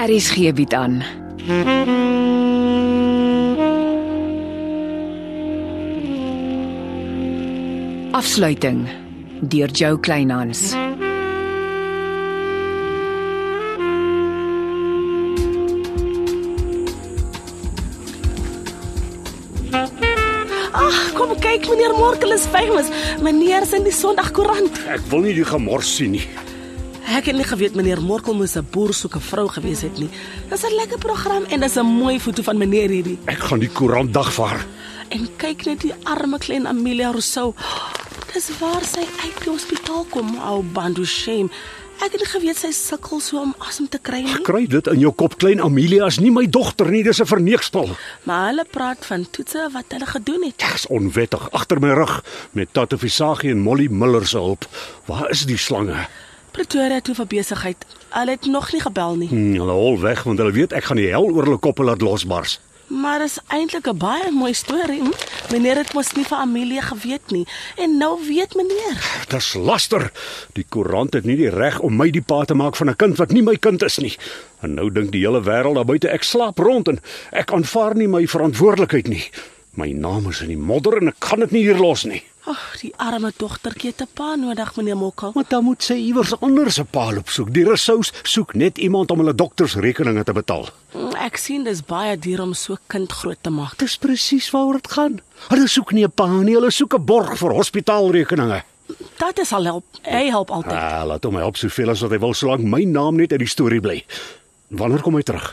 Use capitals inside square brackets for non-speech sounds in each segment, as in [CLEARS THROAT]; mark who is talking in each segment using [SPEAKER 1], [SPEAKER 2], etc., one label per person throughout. [SPEAKER 1] RSG bied Er aan. Afsluiting deur Jo Kleinhans.
[SPEAKER 2] Ag, kom kyk meneer Morkel is famous. Meneer sien die Sondagkoerant.
[SPEAKER 3] Ek wil nie die gemors sien nie.
[SPEAKER 2] Ek het nie geweet meneer Morkel moes 'n boer soek 'n vrou gewees het nie. Dis 'n lekker program en dis 'n mooi foto van meneer hierdie.
[SPEAKER 3] Ek gaan die koerant dagvaar.
[SPEAKER 2] En kyk net die arme klein Amelia Rousseau. Dis waar sy uit die hospitaal kom, ou bandu shame. Ek het nie geweet sy sukkel so om asem te kry nie.
[SPEAKER 3] Kry dit in jou kop, klein Amelia is nie my dogter nie, dis 'n verneekspel.
[SPEAKER 2] Maar hulle praat van toetse wat hulle gedoen het.
[SPEAKER 3] Dis onwettig agter my rug met Tato Visagie en Molly Miller se hulp. Waar is die slange?
[SPEAKER 2] Pretoria toe vir besigheid. Hulle het nog nie gebel nie.
[SPEAKER 3] Hm, hulle hol weg want hulle weet ek gaan die hel oor hulle koppe laat losbars.
[SPEAKER 2] Maar dis eintlik 'n baie mooi storie. Hm? Meneer het mos nie vir Amelia geweet nie en nou weet meneer.
[SPEAKER 3] Dis laster. Die koerant het nie die reg om my die pa te maak van 'n kind wat nie my kind is nie. En nou dink die hele wêreld daar buite ek slaap rond en ek aanvaar nie my verantwoordelikheid nie. My naam is in die modder en ek kan dit nie hier los nie.
[SPEAKER 2] Ag, die arme dogtertjie het 'n pa nodig, meneer Mokkel.
[SPEAKER 3] Maar dan moet sy iewers anders 'n paal opsoek. Die Rousseaus soek net iemand om hulle doktersrekeninge te betaal.
[SPEAKER 2] Hm, Ek sien dis baie duur om so 'n kind groot te maak.
[SPEAKER 3] Dis presies waaroor dit gaan. Hulle soek nie 'n pa nie, hulle soek 'n borg vir hospitaalrekeninge.
[SPEAKER 2] Dat is al help. Hy help altyd.
[SPEAKER 3] Ah, laat hom help soveel as wat hy wil solank my naam net uit die storie bly. Wanneer kom hy terug?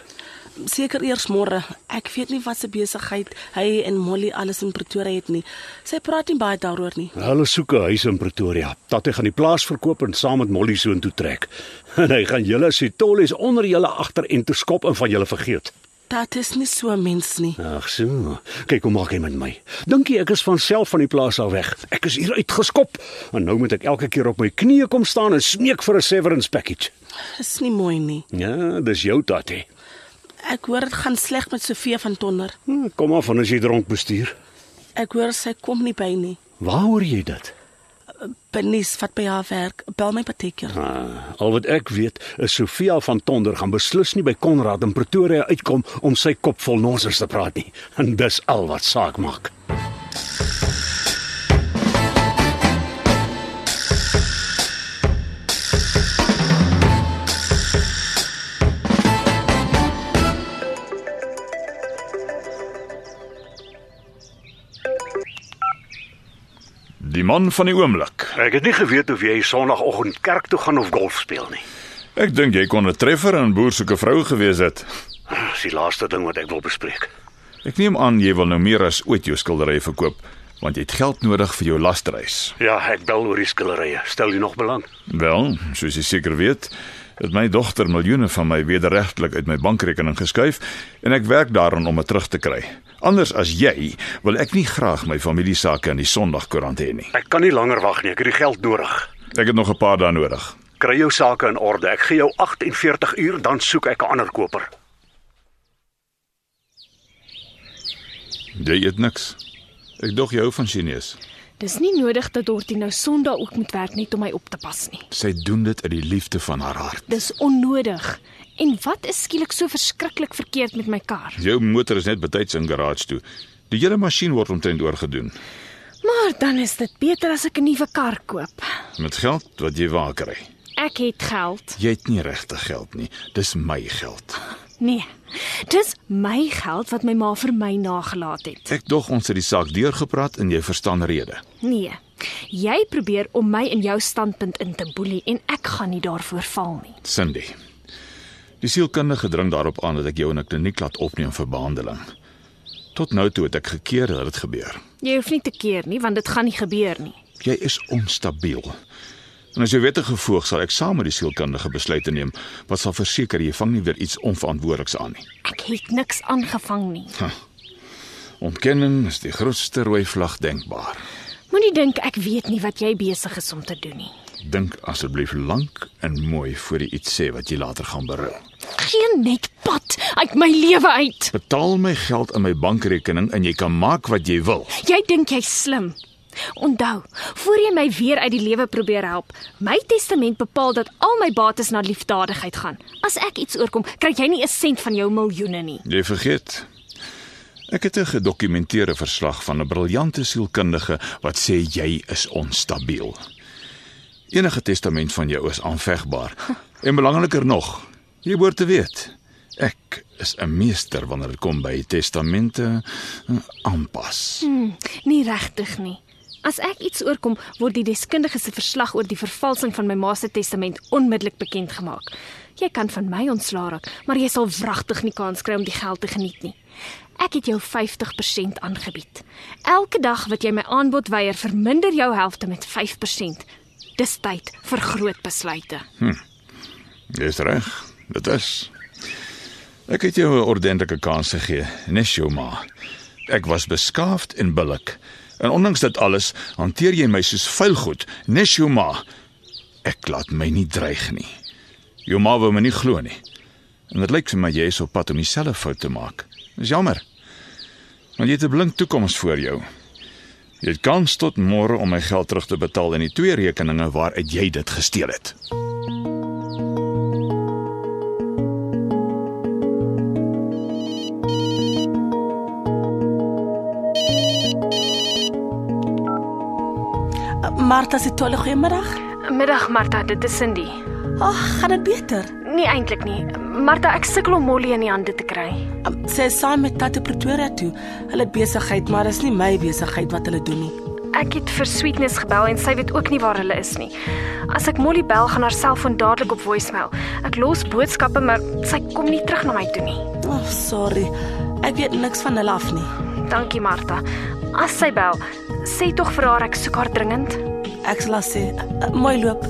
[SPEAKER 2] Seker eers môre. Ek weet nie wat se besigheid hy en Molly alles in Pretoria het nie. Sy praat nie baie daaroor nie.
[SPEAKER 3] Hulle soek 'n huis in Pretoria. Tatie gaan die plaas verkoop en saam met Molly soontoe trek. [LAUGHS] En hy gaan julle sitolies onder julle agter en te skop en van julle vergeet.
[SPEAKER 2] Dat is nie so 'n mens nie.
[SPEAKER 3] Ag so. Kyk hoe maak hy met my. Dink jy ek is van self van die plaas af weg? Ek is hier uitgeskop en nou moet ek elke keer op my knieë kom staan en smeek vir 'n severance package.
[SPEAKER 2] Dis nie mooi nie.
[SPEAKER 3] Ja, dis jou tatie.
[SPEAKER 2] Ek hoor dit gaan sleg met Sofia van Tonder.
[SPEAKER 3] Hm, Kom af van as jy dronk bestuur.
[SPEAKER 2] Ek hoor sy kom nie by nie.
[SPEAKER 3] Waaroor jy dit?
[SPEAKER 2] Bernice vat by haar werk. Bel my partykeer.
[SPEAKER 3] Ah, al wat ek weet is Sofia van Tonder gaan beslis nie by Konrad in Pretoria uitkom om sy kop vol nonsens te praat nie. En dis al wat saak maak.
[SPEAKER 4] Die man van die oomblik.
[SPEAKER 3] Ek het nie geweet of jy sonoggend kerk toe gaan of golf speel nie.
[SPEAKER 4] Ek dink jy kon 'n treffer aan boer soek 'n vrou gewees het.
[SPEAKER 3] Dis die laaste ding wat ek wil bespreek.
[SPEAKER 4] Ek neem aan jy wil nou meer as ooit jou skilderye verkoop, want jy het geld nodig vir jou lasterreis.
[SPEAKER 3] Ja, ek bel oor die skillerye. Stel jy nog belang?
[SPEAKER 4] Wel, soos jy seker weet, het my dogter miljoene van my wederregtelik uit my bankrekening geskuif en ek werk daaraan om dit terug te kry. Anders as jy, wil ek nie graag my familie sake in die Sondagkoerant hê nie.
[SPEAKER 3] Ek kan nie langer wag nie. Ek het die geld nodig.
[SPEAKER 4] Ek het nog 'n paar dae nodig.
[SPEAKER 3] Kry jou sake in orde. Ek gee jou 48 uur, dan soek ek 'n ander koper.
[SPEAKER 4] Jy eet niks. Ek dog jy hou van Chinese.
[SPEAKER 5] Dis nie nodig dat Dortien nou Sondag ook moet werk net om my op te pas nie.
[SPEAKER 4] Sy doen dit uit die liefde van haar hart.
[SPEAKER 5] Dis onnodig. En wat is skielik so verskriklik verkeerd met my kar?
[SPEAKER 4] Jou motor is net betyds in garage toe. Die hele masjien word omtrent oorgedoen
[SPEAKER 5] Maar dan is dit beter as ek 'n nuwe kar koop.
[SPEAKER 4] met geld wat jy waar kry.
[SPEAKER 5] Ek het geld.
[SPEAKER 4] Jy het nie regtig geld nie. Dis my geld.
[SPEAKER 5] Nee. Dis my geld wat my ma vir my nagelaat het.
[SPEAKER 4] Ek dog ons het die saak deurgepraat en jy verstaan rede.
[SPEAKER 5] Nee. Jy probeer om my in jou standpunt in te boelie en ek gaan nie daarvoor val nie.
[SPEAKER 4] Cindy. Die sielkundige dring daarop aan dat ek jou in 'n kliniek laat opneem vir behandeling. Tot nou toe het ek gekeer dat dit gebeur.
[SPEAKER 5] Jy hoef nie te keer nie want dit gaan nie gebeur nie.
[SPEAKER 4] Jy is onstabiel. En as jy wettige gevoeg sal ek saam met die sielkundige besluite neem wat sal verseker jy vang nie weer iets onverantwoordeliks aan nie.
[SPEAKER 5] Ek het niks aangevang nie.
[SPEAKER 4] Ontkenning is die grootste rooi vlag denkbaar.
[SPEAKER 5] Moenie dink ek weet nie wat jy besig is om te doen nie.
[SPEAKER 4] Dink asseblief lank en mooi voor jy iets sê wat jy later gaan berou.
[SPEAKER 5] geen net pad uit my lewe uit.
[SPEAKER 4] Betaal my geld in my bankrekening en jy kan maak wat jy wil.
[SPEAKER 5] Jy dink jy's slim. Onthou, voor jy my weer uit die lewe probeer help, my testament bepaal dat al my bates na liefdadigheid gaan. As ek iets oorkom, kry jy nie 'n sent van jou miljoene nie.
[SPEAKER 4] Jy vergeet. Ek het 'n gedokumenteerde verslag van 'n briljante sielkundige wat sê jy is onstabiel. Enige testament van jou is aanvegbaar. En belangriker nog, jy behoort te weet, ek is 'n meester wanneer dit kom by testamente eh, aanpas.
[SPEAKER 5] Nie regtig nie. As ek iets oorkom, word die deskundige se verslag oor die vervalsing van my ma se testament onmiddellik bekend gemaak. Jy kan van my ontslaa raak, maar jy sal wragtig nie kans kry om die geld te geniet nie. Ek het jou 50% aangebied. Elke dag wat jy my aanbod weier, verminder jou helfte met 5%. Dis tyd vir groot besluite.
[SPEAKER 4] Dis reg. Dit is. Ek het jou 'n ordentlike kans gegee, nes jou ma. Ek was beskaafd en billik. En ondanks dit alles, hanteer jy my soos vuil goed, nes jou ma. Ek laat my nie dreig nie. Jou ma wou my nie glo nie. En dit lyk vir my jy is op pad om dieselfde fout te maak. Dis jammer. Want jy het 'n blink toekoms voor jou. Jy het kans tot môre om my geld terug te betaal in die twee rekeninge waaruit jy dit gesteel het.
[SPEAKER 2] Martha se tolle goeiemiddag.
[SPEAKER 5] Middag Martha, dit is Cindy.
[SPEAKER 2] Ag, gaan dit beter?
[SPEAKER 5] Nie eintlik nie. Martha, ek sukkel om Molly in die hande te kry.
[SPEAKER 2] Um, Sy is saam met Tatie Pretoria toe. Hulle het besigheid, maar dis nie my besigheid wat hulle doen nie.
[SPEAKER 5] Ek het vir Sweetness gebel en sy weet ook nie waar hulle is nie. As ek Molly bel, gaan haar selfoon dadelik op voicemail. Ek los boodskappe, maar sy kom nie terug na my toe nie.
[SPEAKER 2] Oh, sorry. Ek weet niks van hulle af nie.
[SPEAKER 5] Dankie Martha. As sy bel, sê tog vir haar ek soek haar dringend.
[SPEAKER 2] Ek sal haar sê, uh, mooi loop.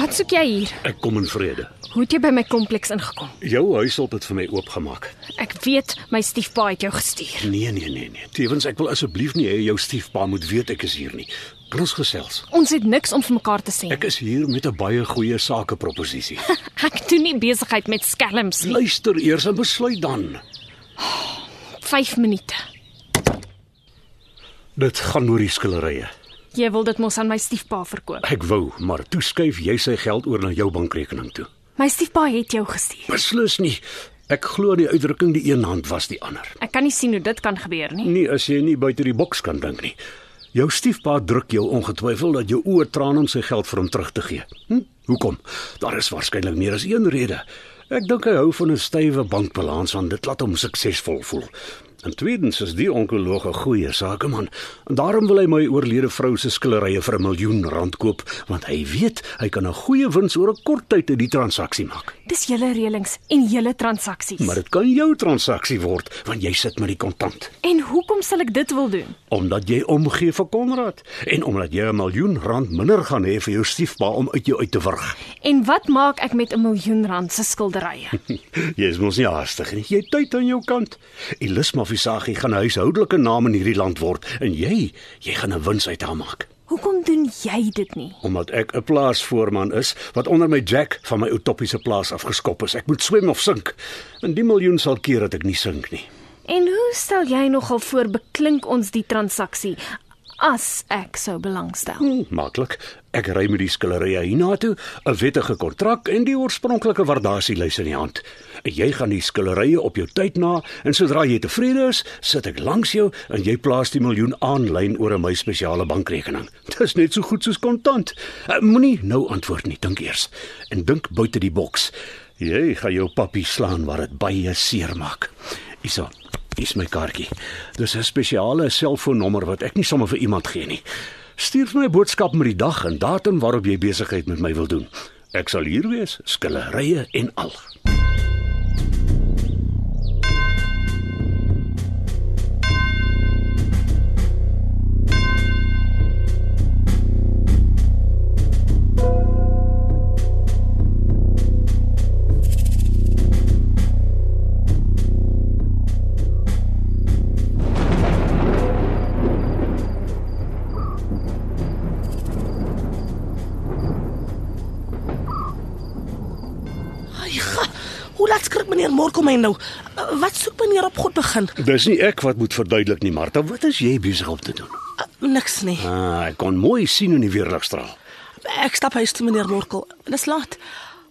[SPEAKER 5] Wat soek jy hier?
[SPEAKER 3] Ek kom in vrede.
[SPEAKER 5] Hoe het jy by my kompleks ingekom?
[SPEAKER 3] Jou huishulp het vir my oopgemaak.
[SPEAKER 5] Ek weet my stiefpa het jou gestuur.
[SPEAKER 3] Nee, nee, nee, nee. Tewens ek wil asseblief nie hê jou stiefpa moet weet ek is hier nie. Kan ons gesels?
[SPEAKER 5] Ons het niks om vir mekaar te sê.
[SPEAKER 3] Ek is hier met 'n baie goeie sakeproposisie.
[SPEAKER 5] Ek doen nie besigheid met skelms nie.
[SPEAKER 3] Luister eers en besluit dan.
[SPEAKER 5] 5 minute.
[SPEAKER 3] Dit gaan oor die skillerye.
[SPEAKER 5] Jy wil dit mos aan my stiefpa verkoop.
[SPEAKER 3] Ek wou, maar toe skuif jy sy geld oor na jou bankrekening toe.
[SPEAKER 5] My stiefpa het jou gestuur.
[SPEAKER 3] Beslis nie. Ek glo die uitdrukking die een hand was die ander.
[SPEAKER 5] Ek kan nie sien hoe dit kan gebeur nie.
[SPEAKER 3] Nie as jy nie buite die boks kan dink nie. Jou stiefpa druk jou ongetwyfeld dat jou oë traan om sy geld vir hom terug te gee. Hm? Hoekom? Daar is waarskynlik meer as een rede. Ek dink hy hou van 'n stywe bankbalans want dit laat hom suksesvol voel. En tweedens is die onkoloog 'n goeie sakeman. En daarom wil hy my oorlede vrou se skillerye vir 'n miljoen rand koop want hy weet hy kan 'n goeie wins oor 'n kort tyd uit die transaksie maak.
[SPEAKER 5] Dis julle reëlings en julle transaksies.
[SPEAKER 3] Maar dit kan jou transaksie word want jy sit met die kontant
[SPEAKER 5] En hoekom sal ek dit wil doen?
[SPEAKER 3] omdat jy omgee vir Konrad en omdat jy 'n miljoen rand minder gaan hê vir jou stiefpa om uit jou uit te wurg. [LAUGHS]
[SPEAKER 5] En wat maak ek met 'n miljoen rand se skilderye?
[SPEAKER 3] Jy is mos nie haastig nie. Jy het tyd aan jou kant. Elisma Visagie gaan 'n huishoudelike naam in hierdie land word en jy, jy gaan 'n wins uit haar maak.
[SPEAKER 5] hoekom doen jy dit nie?
[SPEAKER 3] Omdat ek 'n plaasvoorman is wat onder my jack van my utopiese plaas afgeskop is. Ek moet swem of sink. En die miljoen sal keer dat ek nie sink nie.
[SPEAKER 5] En hoe stel jy nogal voor beklink ons die transaksie as ek sou belangstel?
[SPEAKER 3] Hmm, Maklik. Ek ry met die skillerye hiernatoe, 'n wettige kontrak en die oorspronklike waardasielys in die hand. Jy gaan die skillerye op jou tyd na en sodra jy tevrede is, sit ek langs jou en jy plaas die miljoen aanlyn oor in my spesiale bankrekening. [LAUGHS] Dis net so goed soos kontant. Eh, Moenie nou antwoord nie, dink eers en dink buite die boks. Jy gaan jou pappie slaan wat dit baie seer maak. Hyso. Dis my kaartjie. Dis 'n spesiale selfoonnommer wat ek nie sommer vir iemand gee nie. Stuur vir my 'n boodskap met die dag en datum waarop jy besigheid met my wil doen. Ek sal hier wees, skillerye en al.
[SPEAKER 2] morkel my nou. Eh, Wat soek meneer op God begin?
[SPEAKER 3] Dis nie ek wat moet verduidelik nie, Martha, wat is jy besig om te doen?
[SPEAKER 2] Eh, Niks nie.
[SPEAKER 3] Ah, ek kon mooi sien hoe die weerlig straal.
[SPEAKER 2] Ek stap huis toe meneer Morkel. Dis laat.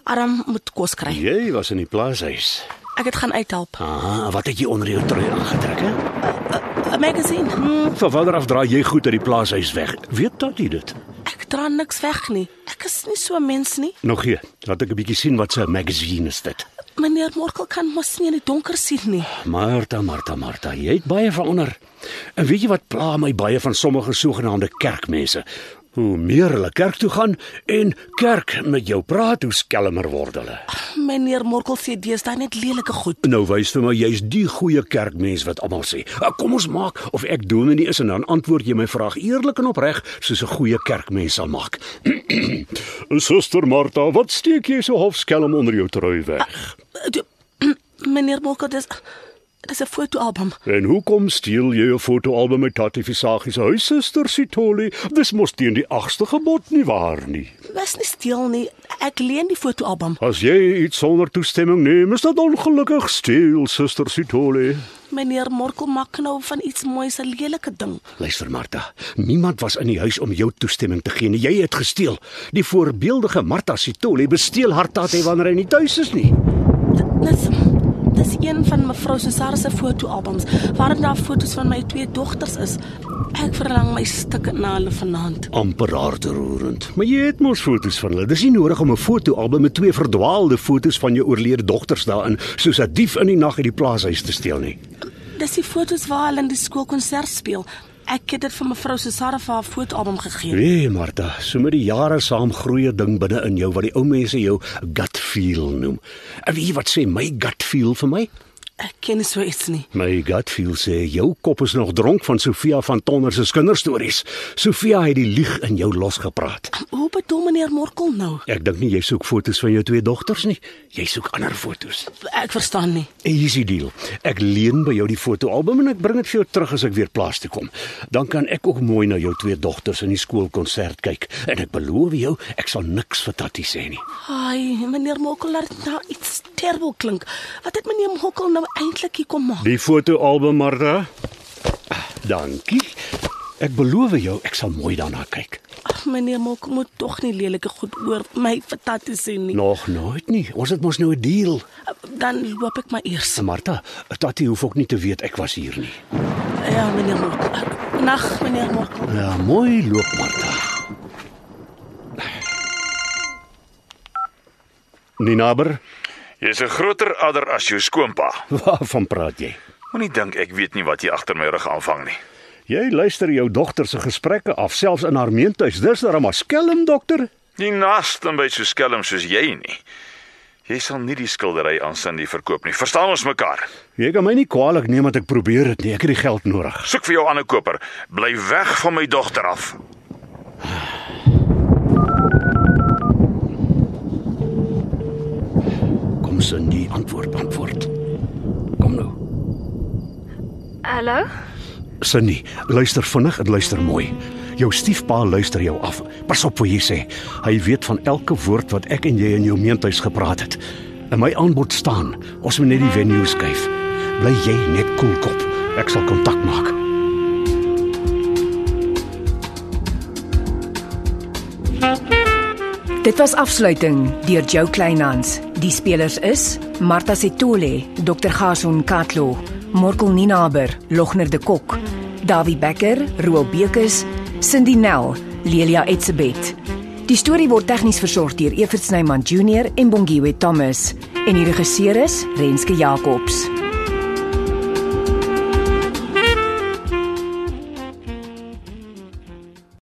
[SPEAKER 2] Adam moet kos kry.
[SPEAKER 3] Jy was in die plaashuis.
[SPEAKER 2] Ek het gaan uithelp.
[SPEAKER 3] Ah, wat het jy onder jou trui aangetrek, hè?
[SPEAKER 2] 'n Magazine.
[SPEAKER 3] Van watter af draai jy goed uit die plaashuis weg? Weet tot jy dit?
[SPEAKER 2] Ek dra niks weg nie. Ek is nie so 'n mens nie.
[SPEAKER 3] Nog hier, laat ek 'n bietjie sien wat 'n magazine is dit.
[SPEAKER 2] Meneer Morkel kan mos nie in die donker sien nie.
[SPEAKER 3] Martha, Martha, Martha, jy het baie verander. En weet jy wat pla my baie van sommige sogenaamde kerkmense? Hoe meer hulle kerk toe gaan en kerk met jou praat, hoe skelmer word hulle.
[SPEAKER 2] Meneer Morkel sê deesdae net lelike goed.
[SPEAKER 3] Nou wys vir my jy's die goeie kerkmens wat almal sê. "Ah, Kom ons maak of ek dominee is en dan antwoord jy my vraag eerlik en opreg soos 'n goeie kerkmens sal maak. [CLEARS THROAT] Suster Martha, wat steek jy so half skelm onder jou trui weg?
[SPEAKER 2] Toe- [CLEARS THROAT] Meneer Morkel, dis dis 'n fotoalbum.
[SPEAKER 3] En hoekom steel jy 'n fotoalbum uit Tatie Visagie se huis, Suster Sitoli? Dis mos teen die 8ste gebod nie waar nie.
[SPEAKER 2] Was nie steel nie. Ek leen die fotoalbum.
[SPEAKER 3] As jy iets sonder toestemming neem, is dit ongelukkig steel, Suster Sitoli.
[SPEAKER 2] Meneer Morkel maak nou van iets moois 'n lelike ding.
[SPEAKER 3] Luister Martha, niemand was in die huis om jou toestemming te gee nie. Jy het gesteel. Die voorbeeldige Martha Sitole besteel haar taatjie wanneer hy nie tuis is nie.
[SPEAKER 2] Dis dis een van mevrou Susara se fotoalbums waarin daar foto's van my twee dogters is. Ek verlang my stukke na hulle vanaand.
[SPEAKER 3] Amper hartroerend. Maar jy het mos foto's van hulle. Dis nie nodig om 'n fotoalbum met twee verdwaalde foto's van jou oorlede dogters daarin, soos 'n dief in die nag uit die plaashuis te steel nie.
[SPEAKER 2] Dis die foto's waar hulle in die skoolkonsert speel. Ek het dit vir mevrou Susara vir haar fotoalbum gegee.
[SPEAKER 3] Nee, Martha, so met die jare saam groei 'n ding binne in jou wat die ou mense jou gut feel noem. En weet jy wat sê my gut feel vir my?
[SPEAKER 2] Ek ken nie so iets nie.
[SPEAKER 3] My gut feel sê jou kop is nog dronk van Sofia van Tonner se kinderstories. Sofia het die lieg in jou losgepraat.
[SPEAKER 2] Hoe bedoel meneer Morkel nou?
[SPEAKER 3] Ek dink nie jy soek fotos van jou twee dogters nie. Jy soek ander fotos.
[SPEAKER 2] Ek verstaan nie.
[SPEAKER 3] Easy deal. Ek leen by jou die fotoalbum en ek bring dit vir jou terug as ek weer plaas toe kom. Dan kan ek ook mooi na jou twee dogters in die skoolkonsert kyk en ek beloof jou ek sal niks vir Tatie sê nie.
[SPEAKER 2] Ai, meneer Morkel laat dit nou iets terrible klink. Wat het meneer Morkel nou eintlik hier kom maak?
[SPEAKER 3] Die fotoalbum Martha. Dankie. Ek beloof jou ek sal mooi daarna kyk.
[SPEAKER 2] Ag, meneer Morkel moet tog nie lelike goed oor my vertatte sien nie.
[SPEAKER 3] Nog nooit nie. Ons het mos nou 'n deal.
[SPEAKER 2] Dan loop ek maar eers.
[SPEAKER 3] Martha, Tati hoef ook nie te weet ek was hier nie.
[SPEAKER 2] Ja, meneer Morkel. Nag, meneer Morkel.
[SPEAKER 3] Ja, mooi loop Martha. Ninaber,
[SPEAKER 4] Jy's 'n groter adder as jou skoonpa.
[SPEAKER 3] [LAUGHS] waarvan praat jy?
[SPEAKER 4] Moenie dink ek weet nie wat jy agter my rug aanvang nie.
[SPEAKER 3] Jy luister jou dogter se gesprekke af, selfs in haar meentuis. Dis darem 'n skelm dokter.
[SPEAKER 4] Nie naaste by so skelm soos jy nie. Jy sal nie die skildery aan Cindy verkoop nie. Verstaan ons mekaar?
[SPEAKER 3] Jy kan my nie kwaadlik neem dat ek probeer dit nie. Ek het die geld nodig.
[SPEAKER 4] Soek vir jou ander koper. Bly weg van my dogter af.
[SPEAKER 3] Kom Cindy, antwoord, antwoord. Kom nou.
[SPEAKER 5] Hallo?
[SPEAKER 3] Cindy, luister vinnig en luister mooi. Jou stiefpa luister jou af. Pas op wat jy sê. Hy weet van elke woord wat ek en jy in jou meentuis gepraat het. In my aanbod staan, ons moet net die venue skuif. Bly jy net koelkop. Ek sal kontak maak.
[SPEAKER 1] Dit was afsluiting deur Jo Kleinhans. Die spelers is Martha Setole, Dr. Gason Katlo, Morkel Ninaber, Logner de Kok, Dawie Becker, Roel Bekes, Cindy Nel, Lelia Etsebet. Die storie word tegnies versorg deur Evert Snyman Junior en Bongwe Thomas en die regisseur is Renske Jacobs.